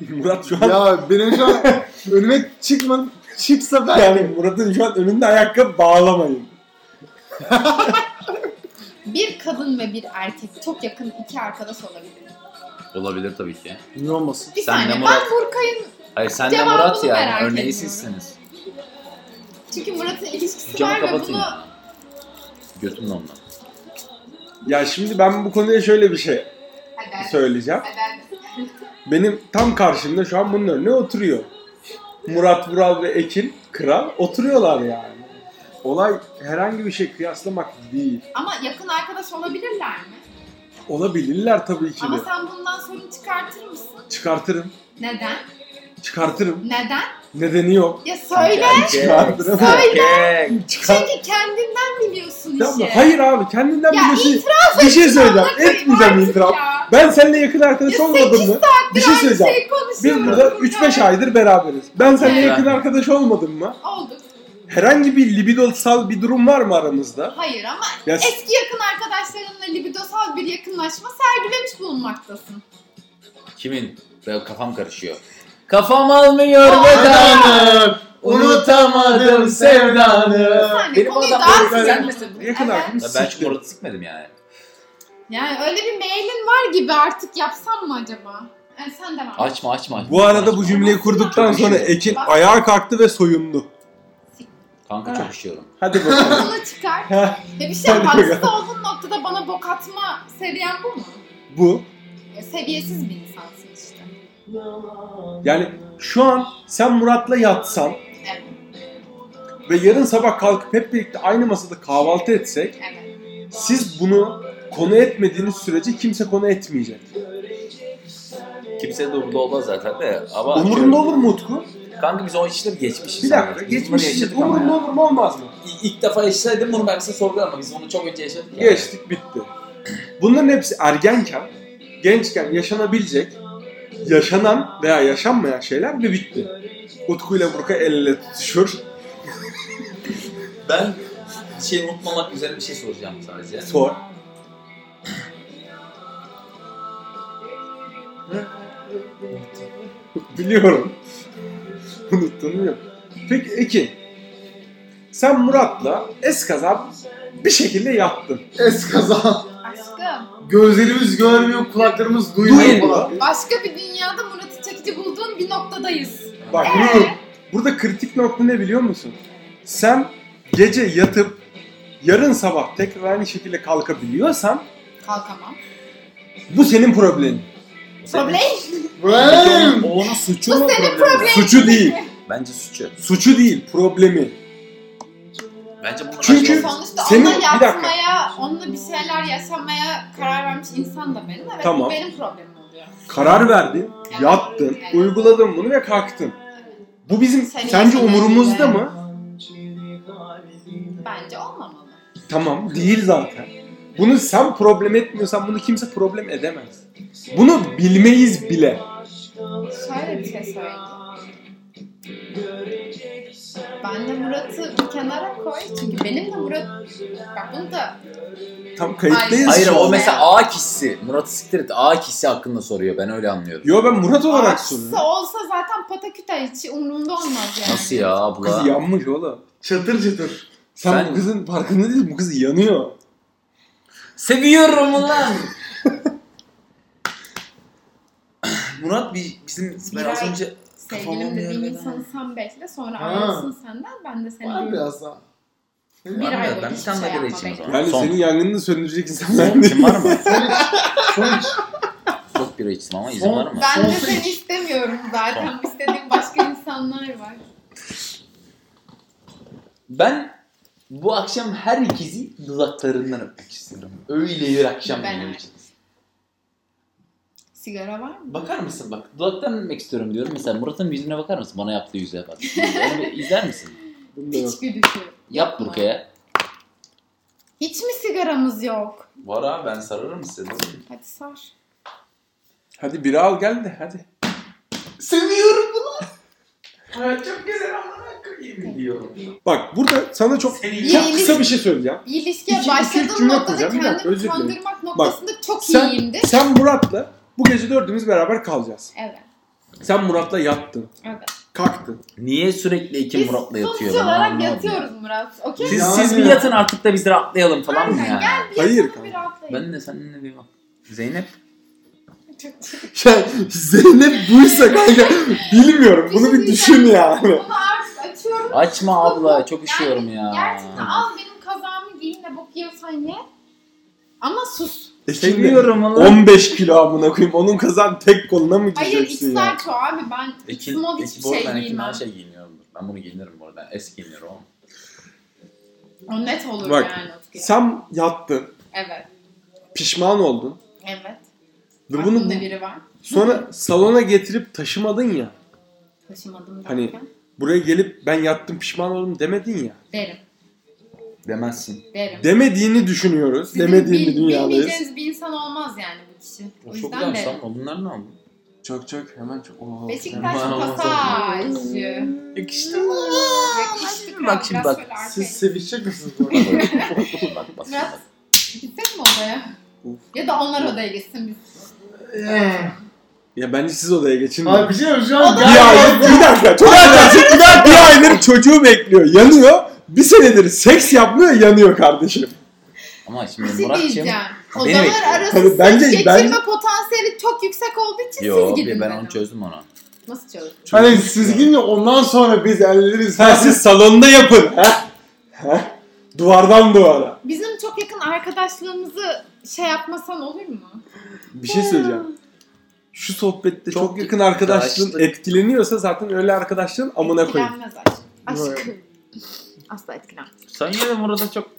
E: Murat gidebilir.
D: şu an
B: Ya benim şu an önüme çıkma, çıksa ben
D: yani Murat'ın şu an önünde ayakkabı bağlamayın.
C: Bir kadın ve bir erkek çok yakın iki arkadaş olabilir.
E: Olabilir tabii ki.
B: Niye olmasın?
C: Bir
E: Sen de
C: saniye
E: Murat.
C: ben Burkay'ın
E: Hayır sen de
C: Cevabını
E: Murat ya.
C: merak
E: Örneği
C: ediyorum.
E: sizsiniz.
C: çünkü Murat'ın ilişkisi
E: Camı
C: var ve
E: kapatayım.
C: bunu
E: Götümle ondan.
D: Ya şimdi ben bu konuya şöyle bir şey
C: Hadi.
D: söyleyeceğim.
C: Hadi.
D: Benim tam karşımda şu an bunun önüne oturuyor. Murat Vural ve Ekin Kral oturuyorlar yani. Olay herhangi bir şey kıyaslamak değil.
C: Ama yakın arkadaş olabilirler mi?
D: Olabilirler tabii ki
C: Ama
D: de.
C: sen bundan sorun çıkartır mısın?
D: Çıkartırım.
C: Neden?
D: Çıkartırım.
C: Neden?
D: Nedeni yok.
C: Ya söyle.
D: Çıkartırım.
E: Söyle.
D: Çıkar.
C: Çünkü kendinden biliyorsun
D: Tamam
C: işi.
D: mı? Hayır abi kendinden
C: Ya
D: bir şey, bir şey söyleyeceğim. Etmeyeceğim
C: Artık
D: itiraf.
C: ya.
D: Ben seninle yakın arkadaş
C: Ya
D: olmadım
C: sekiz
D: mı? Bir şey
C: Aynı
D: söyleyeceğim.
C: şeyi konuşuyoruz
D: Biz burada
C: burada.
D: 3-5 aydır beraberiz. Ben seninle
C: Evet.
D: yakın arkadaş olmadım mı?
C: Olduk.
D: Herhangi bir libidosal bir durum var mı aramızda?
C: Hayır ama
D: Ya s-
C: eski yakın arkadaşlarınla libidosal bir yakınlaşma sergilemiş bulunmaktasın.
E: Kimin? Ben kafam karışıyor. Kafam almıyor veda.
B: Sevdanım, unutamadım sevdanı.
C: Yani
E: Benim
C: konuyu
E: adam
C: daha
E: böyle-
C: sıcak-
D: yakın
C: Evet.
D: arkadaş.
E: Ya ben çünkü Murat'ı sikmedim yani.
C: Yani öyle bir mailin var gibi artık yapsam mı acaba? Yani sen de var.
E: Açma açma. açma.
D: Bu arada bu cümleyi kurduktan sonra Ekin ayağa kalktı ve soyundu.
E: Kanka çok üşüyorum.
D: Hadi bakalım.
C: Bunu çıkar.
D: Ha,
C: Ya bir şey
D: Hadi
C: haksız olduğun noktada bana bok atma seviyen bu mu?
D: bu.
C: Ya seviyesiz bir insansın işte.
D: Yani şu an sen Murat'la yatsan
C: Evet,
D: ve yarın sabah kalkıp hep birlikte aynı masada kahvaltı etsek
C: evet.
D: siz bunu konu etmediğiniz sürece kimse konu etmeyecek.
E: Kimse de umurunda olmaz zaten de. Ama
D: Umurunda olur mu Utku?
E: Kanka biz o işleri geçmişiz.
D: Bir
E: zaten.
D: dakika
E: Biz bunları
D: geçmişiz.
E: yaşadık ama
D: Umurunda
E: ya.
D: olur mu olmaz mı?
E: İ- İlk defa yaşasaydım bunu ben size sorgularım ama biz bunu çok önce yaşadık. yani.
D: Geçtik bitti. Bunların hepsi ergenken, gençken yaşanabilecek, yaşanan veya yaşanmayan şeyler ve bitti. Utku ile Burka el ele tutuşur.
E: Ben şey unutmamak üzere bir şey soracağım sadece.
D: Sor. Biliyorum. Unuttum yok. Peki Ekin. Sen Murat'la eskaza bir şekilde yattın.
B: Eskaza.
C: Aşkım.
B: Gözlerimiz görmüyor, kulaklarımız duymuyor
D: Duyuyor.
B: falan.
C: Başka bir dünyada Murat'ı çekici bulduğun bir noktadayız.
D: Bak bunu, burada kritik nokta ne biliyor musun? Sen gece yatıp yarın sabah tekrar aynı şekilde kalkabiliyorsan
C: Kalkamam.
D: bu senin problemin.
C: Problem
B: Vem!
E: O onun suçu
C: Bu
E: mu
C: senin
E: problemi?
D: Suçu değil.
E: Bence suçu.
D: Suçu değil, problemi.
E: Bence bunun
D: Çünkü-
E: acısı-
C: sonuçta
D: senin-
C: onunla
D: bir dakika.
C: yapmaya, onunla bir şeyler yaşamaya karar vermiş insan da benim. Evet
D: Tamam.
C: bu benim problemim oluyor.
D: Karar verdin, yattın,
C: Evet.
D: uyguladın bunu ve kalktın. Bu bizim
C: Senin
D: sence
C: yaşadığın
D: umurumuzda
C: gibi.
D: mı?
C: Bence olmamalı.
D: Tamam, değil zaten. Bunu sen problem etmiyorsan bunu kimse problem edemez. Bunu bilmeyiz bile.
C: Şöyle bir şey söyleyeyim. Ben de Murat'ı bir kenara koy. Çünkü benim de Murat... Bak bunu da...
D: Tam kayıttayız.
E: Hayır
D: şu
E: o
D: an.
E: mesela A kişisi. Murat'ı siktir et. A kişisi hakkında soruyor. Ben öyle anlıyorum.
D: Yo ben Murat olarak soruyorum.
C: Olsa olsa zaten pataküte hiç umurumda olmaz yani.
E: Nasıl ya abla?
D: Kız yanmış oğlum.
B: Çatır çatır.
D: Sen,
E: Sen-
D: bu kızın farkında değil Bu kız yanıyor.
E: Seviyorum lan.
I: Murat bir, bizim ben az
C: Miray.
I: önce
C: Sevgilim
I: Kafamı
C: dediğin
I: yerden
C: insanı sen bekle sonra
B: Ha.
C: ayrılsın senden ben de seni
B: Var
C: bir,
B: biraz daha.
E: Var
C: bir
E: mı?
C: ay
E: Ben
C: boyunca
E: bir
C: hiç
E: tane
C: şey
E: daha
C: yapma
E: içeyim o
C: bekle.
E: zaman.
D: Yani
E: Son.
D: senin yangınını söndürecek insan ben
E: Son
D: değilim.
E: kim var mı?
B: Sonuç.
E: Çok bira içtim ama izin
B: Son.
E: var mı?
C: Ben de
B: Son.
C: seni istemiyorum zaten. İstediğim başka insanlar var.
E: Ben bu akşam her ikizi dudaklarından öpmek istiyorum. Öyle bir akşam
C: Ben
E: benim
C: öyle.
E: için.
C: Sigara var mı?
E: Bakar mısın bak dudaktan öpmek istiyorum diyorum. Mesela Murat'ın yüzüne bakar mısın? Bana yaptığı yüzüne bak. Onu bir izler misin?
C: Piç gülüşü.
E: Yap Burka'ya.
C: Hiç mi sigaramız yok?
E: Var abi ben sararım size.
C: Hadi sar.
D: Hadi biri al gel de hadi.
I: Seviyorum bunu. Hayat çok güzel amına koyayım diyorum.
D: Bak burada sana çok
I: Seni
D: çok kısa bir şey söyleyeceğim.
C: Bir ilişkiye
D: İki- iki üç
C: başladığım
D: cümle
C: noktada
D: kuracağım. Bir dakika,
C: kendimi
D: özür dilerim.
C: kandırmak noktasında çok
D: sen-
C: iyiyimdir.
D: Sen Murat'la bu gece dördümüz beraber kalacağız.
C: Evet.
D: Sen Murat'la yattın.
C: Evet.
D: Kalktın.
E: Niye sürekli iki
C: Biz
E: Murat'la yatıyor?
C: sonuç
E: Ben
C: olarak
E: anlamadım.
C: yatıyoruz Murat. Okey
E: Siz,
C: mi?
B: Yani-
E: siz bir yatın artık da biz rahatlayalım falan mı
C: Aynen,
E: yani?
C: gel bir
D: Hayır
C: yatalım,
D: kanka.
C: bir rahatlayın.
E: Ben de seninle bir bak. Zeynep.
C: Çok-
B: Şey,
D: Ya Zeynep buysa kanka bilmiyorum. Bunu bir düşün yani.
C: Bunu artık açıyorum.
E: Açma abla çok üşüyorum ya.
C: Gerçekten al benim kazağımı giyin de bok yiyorsan ye. Ama sus.
D: E şimdi
E: Seviyorum lan.
D: 15 kilo amına koyayım. Onun kazan tek koluna mı
C: Hayır
D: gireceksin ya?
C: ister çoğu abi ben
E: Ekin,
C: small
E: Ekin, bu
C: hiçbir
E: arada
C: şey
E: ben Ekin'den
C: giymem.
E: şey giyiniyorum. Ben bunu giyinirim bu arada. Ben eski giyiniyorum ama.
C: O net olur
D: Bak,
C: yani. Utku.
D: Sen yattın.
C: Evet.
D: Pişman oldun.
C: Evet.
D: Ve bunu
C: Aklımda biri var.
D: sonra salona getirip taşımadın ya.
C: Taşımadım derken.
D: Hani- Buraya gelip ben yattım pişman oldum demedin ya.
C: Derim.
E: Demezsin.
C: Derim.
D: Demediğini düşünüyoruz.
C: Sizin
D: Demediğini
C: bil-
D: dünyadayız.
C: Bilmeyeceğiniz bir insan olmaz yani bu kişi. O
E: Çok
C: yüzden
E: güzel
C: derim.
E: ama bunlar ne oldu?
D: Çok çok hemen çok. Oo,
C: Beşiktaş
E: Aman, aman,
C: pasaj.
E: Yakıştı
C: Yakıştı
E: Bak şimdi bak.
B: Siz sevişecek misiniz bu arada?
E: bak bak
C: Biraz
E: bak.
C: gitsek mi odaya? Ya da onlar odaya gitsin biz.
D: Ya bence siz odaya geçin.
B: Ee. Abi bir şey yok şu an.
D: Bir aydır, bir dakika. Çok acayip. Bir, dakika, bir aydır çocuğu bekliyor. Yanıyor. Bir senedir seks yapmıyor yanıyor kardeşim.
E: Ama şimdi
C: Bir şey
E: Murat'cığım.
C: diyeceğim.
E: Beni bekliyor.
C: Odalar arası
D: Tabii bence-
C: ses geçirme
D: ben-
C: potansiyeli çok yüksek olduğu için
E: Yo
C: siz
E: bir
C: gidin.
E: ben
C: dedim.
E: onu çözdüm onu.
C: Nasıl çözdün?
B: Hani siz gidince ondan sonra biz elleriz.
D: Ha, siz salonda yapın. Ha? Ha? Duvardan duvara.
C: Bizim çok yakın arkadaşlığımızı şey yapmasan olur mu?
D: Bir şey söyleyeceğim. Şu sohbette çok,
E: Çok
D: yakın arkadaşlığın
E: yakınlaştık.
D: etkileniyorsa zaten öyle arkadaşlığın amına koyayım.
C: Etkilenmez aşk. Aşkım. Asla etkilenmez.
E: Sen yine de Murat'a çok...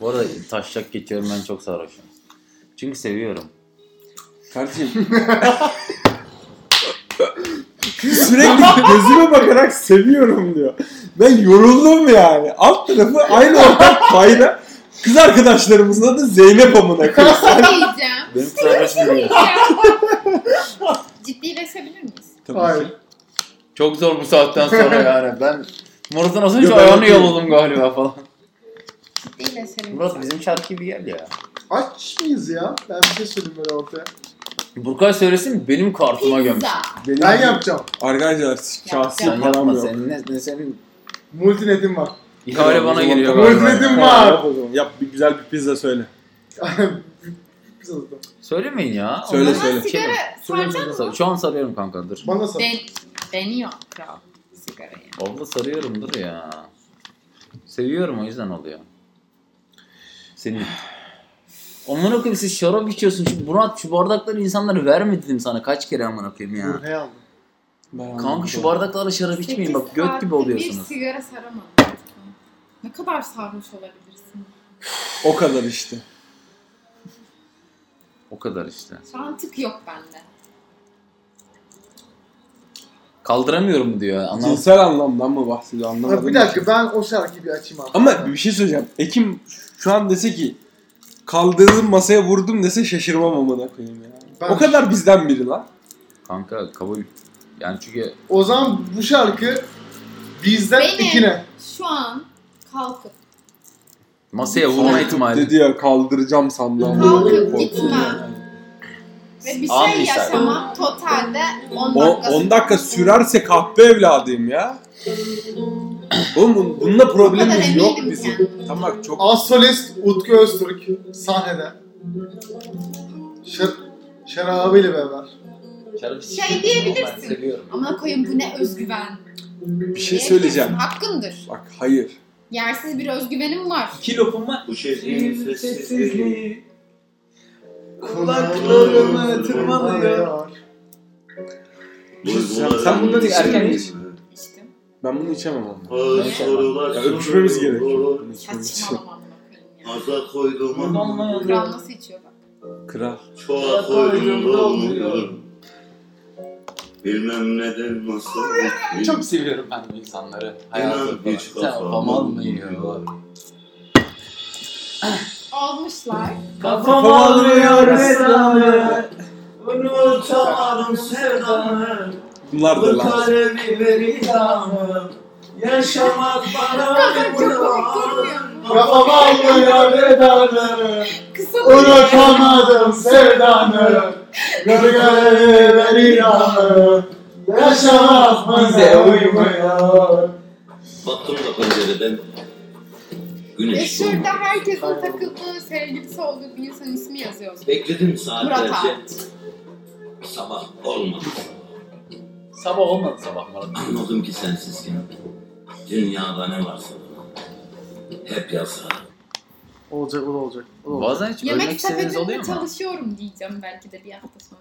E: Bu arada taşacak geçiyorum ben çok sarhoşum. Çünkü seviyorum.
D: Kardeşim. Sürekli gözüme bakarak seviyorum diyor. Ben yoruldum yani. Alt tarafı aynı ortak payda. Kız arkadaşlarımızın adı Zeynep amına koyayım.
C: diyeceğim.
E: Benim sarhoşum değil.
C: Ciddileşebilir miyiz?
B: Hayır.
E: Çok zor bu saatten sonra yani. Ben Murat'ın az önce
D: Yok, ben
E: ayağını
D: okeyim.
E: yolladım galiba falan.
C: Ciddileşelim.
E: Murat bizim şarkıyı bir gel ya.
B: Aç mıyız ya? Ben bir şey söyleyeyim böyle ortaya.
E: Burkay söylesin benim kartıma gömsün.
C: Pizza.
D: Benim
B: Ben yapacağım.
D: Arkadaşlar şahsi
E: Sen
D: param
E: yapma
D: yok.
E: senin. Ne, ne senin?
B: Multinetim var.
E: İhale bana geliyor
B: tamam.
E: galiba.
B: Özledim
D: Ha,
B: var.
D: Yap, o zaman. yap bir güzel bir pizza söyle.
B: Biz alırız.
E: Söylemeyin ya.
D: Söyle,
E: Ondan-
D: söyle.
E: Şey,
C: Sigara
B: Söyle,
C: saracak
B: söyle.
C: mı?
E: Şu an sarıyorum kanka dur.
B: Bana sat.
C: Den, deniyor kral sigarayı.
E: Abla sarıyorum dur ya. Seviyorum o yüzden oluyor. Senin. Aman okuyayım siz şarap içiyorsun. Şu, Murat şu bardakları insanlara verme dedim sana kaç kere aman okuyayım ya.
B: Buraya aldım.
D: Ben
E: Kanka şu bardaklarla şarap içmeyin bak göt gibi
C: Bir
E: oluyorsunuz.
C: sigara saramadım. Ne kadar sarmış olabilirsin?
D: O kadar işte.
E: O kadar işte.
C: Şu an tık yok bende.
E: Kaldıramıyorum diyor. Anlam
D: Cinsel anlamdan mı bahsediyor anlamadım.
B: Ha, bir
D: ki.
B: dakika ben o şarkıyı bir açayım abi.
D: Ama bir şey söyleyeceğim. Ekim şu an dese ki kaldırdım masaya vurdum dese şaşırmam amına koyayım ya.
B: Ben-
D: O kadar bizden biri lan.
E: kanka kabul. Yani çünkü
B: O zaman bu şarkı bizden
C: Benim.
B: ikine.
C: Şu an kalkıp
E: masaya E, vurma
D: Kalkıp
E: ihtimali.
D: Dedi ya kaldıracağım sandalyeyi.
C: Kalkıp
D: Korktum
C: gitme.
D: yani.
C: ve bir
E: An
C: şey
E: misal.
C: yaşamam totalde 10
D: O,
C: dakika.
D: 10 dakika sürerse kahpe evladıyım ya. Oğlum bun- bununla problemimiz yok
C: eminim
D: bizim.
C: kendimden.
D: Tamam bak çok
B: Asolist Utku Öztürk sahnede. Şer şarabıyla beraber.
C: Şey diyebilirsin. Ama koyun bu ne özgüven.
D: bir şey söyleyeceğim.
C: Hakkındır.
D: Bak hayır.
C: Yersiz bir özgüvenim var.
E: İki lopum var.
J: Bu şey şehrin sessizliği
B: Kulaklarımı tırmalıyor.
D: Sen, sen bundan erken geç.
C: İçtim.
D: Ben bunu içemem ama.
J: Sorular
D: Ya öpüşmemiz gerekiyor. Bunu içmemiz için.
C: Saçmalamam bakayım ya.
J: Aza koydum ama
C: Kral nasıl içiyor bak.
D: Kral.
J: çoğa koydum da olmuyor. Bilmem neden nasıl ettim.
E: Çok seviyorum ben bu insanları.
J: İnan
E: Hayatı falan.
J: hiç
E: Sen
J: kafam
E: kafam
J: almıyor.
E: almıyor.
C: Almışlar.
E: Kafam
D: almıyor
E: Esra'yı.
J: Unutamadım sevdamı.
D: Bunlar da
J: Bu
D: lan.
J: kalemi veridamı. Yaşamak bana bir
B: Kafam almıyor vedanı. Unutamadım sevdanı. Gölgeleri ver ilanı. Yaşamak bize uymuyor.
J: Baktım da pencereden.
C: Ve
J: Güneş doğdu.
C: E, şurada herkesin takıldığı, sevgilisi olduğu bir insanın ismi yazıyor.
J: Bekledim
C: Murat
J: saatlerce.
C: abi.
J: Sabah olmadı.
E: Sabah olmadı sabah Murat.
J: Anladım ki sensizken. Dünyada ne varsa bana. Hep yasak.
B: Olacak o da olacak. O da olacak.
E: Bazen hiç ölmek
C: Yemek
E: istediğiniz
C: sepetinde
E: oluyor mu?
C: çalışıyorum diyeceğim belki de bir hafta sonra.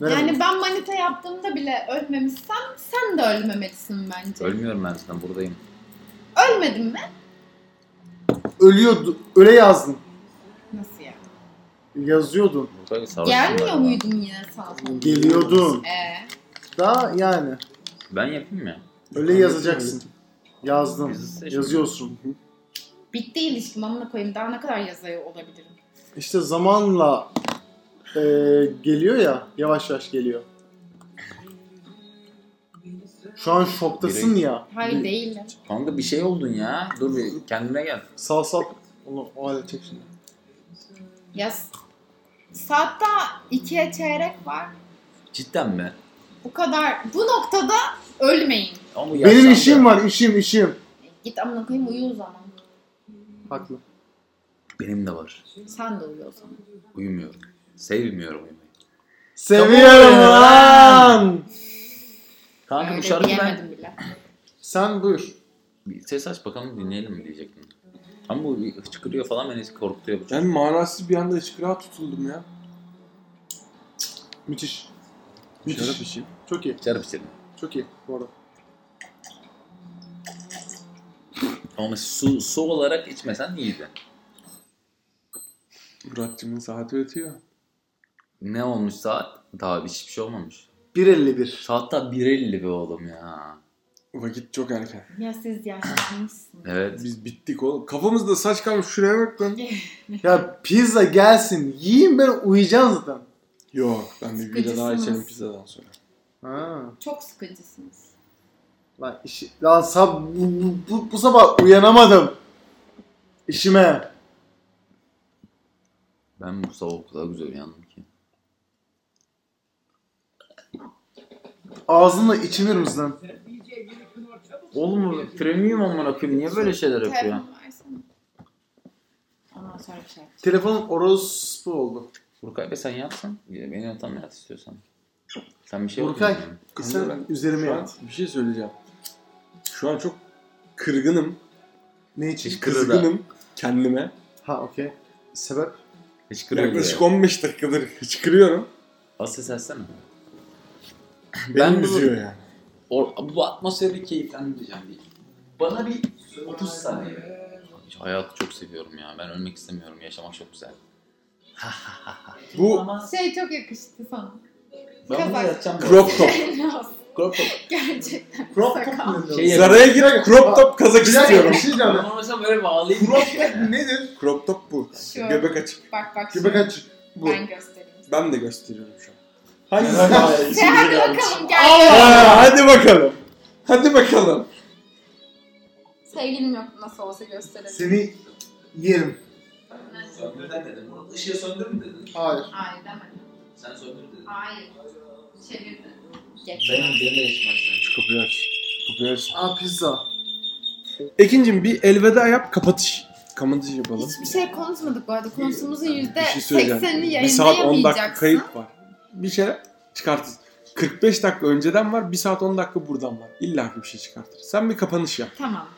B: Merhaba.
C: Yani ben manita yaptığımda bile ölmemişsem sen de ölmemelisin bence.
E: Ölmüyorum ben zaten buradayım.
C: Ölmedin mi?
B: Ölüyordu. Öyle yazdın.
C: Nasıl ya?
B: Yazıyordun.
E: Burada bir sarhoşum
C: Gelmiyor
E: galiba.
C: muydun yine sağ
B: Geliyordun.
C: Ee,
B: Daha yani.
E: Ben yapayım mı?
B: Öyle yazacaksın. Yazdın.
E: Yazısı seçmiyor.
B: Yazıyorsun.
C: bitti ilişkim amına koyayım daha ne kadar yazıyor olabilirim.
B: İşte zamanla e, geliyor ya. Yavaş yavaş geliyor. Şu an şoktasın ya.
C: Hayır değilim.
E: Kanka bir şey oldun ya. Dur bir kendine gel.
B: Sağ sağ. Onu o hale çek şimdi.
C: Ya s- saatte ikiye çeyrek var.
E: Cidden mi?
C: Bu kadar. Bu noktada ölmeyin.
E: Ama
B: Benim işim var. işim işim.
C: Git amına koyayım uyu o zaman.
B: Haklı.
E: Benim de var.
C: Sen de uyu o zaman.
E: Uyumuyorum. Sevmiyorum uyumayı.
B: Seviyorum
E: Tamam.
B: lan.
E: Kanka
C: Öyle
E: bu şarkı ben...
C: diyemedim bile.
B: Sen buyur.
E: Bir ses aç bakalım dinleyelim mi diyecektim. Ama bu bir hıçkırıyor falan beni korkutuyor.
D: Yani manasız bir anda ışkıra tutuldum ya.
B: Müthiş.
D: Şarap
B: Müthiş.
E: şey.
D: içeyim.
B: Çok iyi.
E: Çarp içelim.
B: Çok iyi bu arada.
E: Ama su, su olarak içmesen iyiydi.
D: Muratcığımın saati ötüyor.
E: Ne olmuş saat? Daha hiçbir şey olmamış.
B: 1.51.
E: Saat da 1.50 be oğlum ya.
D: Vakit çok erken.
C: Ya siz yaşlanmışsınız.
E: Evet.
D: Biz bittik oğlum. Kafamızda saç kalmış şuraya bak lan.
B: Ya pizza gelsin. Yiyeyim ben uyuyacağım zaten.
D: Yok ben bir bira daha
C: Sıkıcısınız.
D: içelim pizzadan sonra.
B: Ha.
C: Çok sıkıcısınız.
B: Lan işi... Lan sab... Bu, bu, bu, bu sabah uyanamadım. İşime.
E: Ben bu sabah o kadar güzel uyandım ki.
B: Ağzınla içilir misin lan?
E: Oğlum bu premium amına koyayım niye böyle şeyler yapıyor?
C: Telefonu versene. Ondan sonra bir şey yap.
B: Telefonum orospu oldu.
E: Burkay be sen yapsan. Beni yatan yat istiyorsan. Sen bir şey
B: Burkay,
E: yapma.
B: sen
D: Şu
B: üzerime
D: an
B: yat.
D: bir şey söyleyeceğim. Şu an çok kırgınım.
B: Ne için?
D: Kızgınım kendime.
B: Ha okey. Sebep?
E: Hiç kırıyor
D: Yaklaşık
E: ya.
D: 15 dakikadır hıçkırıyorum.
E: Asıl sessene. Ben
D: Beni
E: bu-
D: üzüyor yani.
E: O, bu atmosferi keyiflendireceğim değil. Bana bir 30 saniye. Hayatı çok seviyorum ya. Ben ölmek istemiyorum. Yaşamak çok güzel.
D: Bu
C: Şey çok yakıştı sana.
E: Ben bunu
C: Kapak.
E: yatacağım.
D: crop top.
E: Crop top.
C: Gerçekten.
J: Crop top
C: sakal.
J: mu?
E: Şey yapıyorum.
D: Zara'ya girip crop top kazak
B: Bir dakika
D: istiyorum.
B: bir şey diyeceğim.
E: Ben onu mesela böyle bağlayayım.
J: Crop top nedir?
D: Crop top bu.
C: Şu.
D: Göbek açık.
C: Bak bak.
B: Göbek
C: şimdi
B: aç. Bu.
C: Ben göstereyim.
D: Ben de gösteriyorum şu an.
C: Şey, hadi bakalım gel.
D: Aa, hadi bakalım. Hadi bakalım.
C: Sevgilim yok nasıl olsa gösterelim.
B: Seni yerim.
J: Söndür demedim. Bunu ışığı söndür mü dedin?
B: Hayır.
C: Hayır demedim.
J: Sen söndür dedin.
C: Hayır. Çevirdim. Geç.
E: Benim gene yaşamazsın.
D: Şu kapıyı aç. Kapıyı aç.
B: Aa pizza.
D: Ekincim bir elveda yap kapatış. Kapatış yapalım.
C: Hiçbir şey konuşmadık bu arada. Konuşmamızın yüzde
D: Ee, Bir şey söyleyeceğim.
C: seksenini
D: Bir saat 10 dakika
C: yayınlayamayacaksın.
D: kayıp var. Bir şey çıkartırız. 45 dakika önceden var, 1 saat 10 dakika buradan var. İlla ki bir şey çıkartırız. Sen bir kapanış yap.
C: Tamam.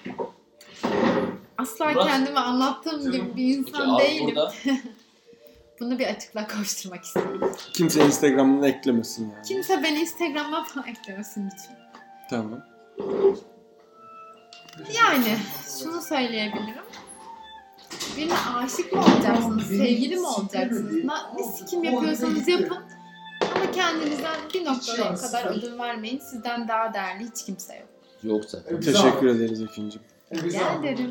C: Asla
E: Murat.
C: kendimi anlattığım gibi bir insan
E: Abi
C: değilim.
E: burada.
C: Bunu bir açıkla kavuşturmak istedim.
D: Kimse Instagram'ını eklemesin yani.
C: Kimse beni Instagram'dan falan eklemesin lütfen.
D: Tamam.
C: Yani şunu söyleyebilirim. Birine aşık mı olacaksınız, sevgili mi olacaksınız? Na- Ne sikim yapıyorsanız yapın. Ama kendinizden bir noktaya kadar ödün vermeyin. Sizden daha değerli hiç kimse yok.
E: Yoksa.
D: Teşekkür ederiz Ekincim.
C: Rica ederim.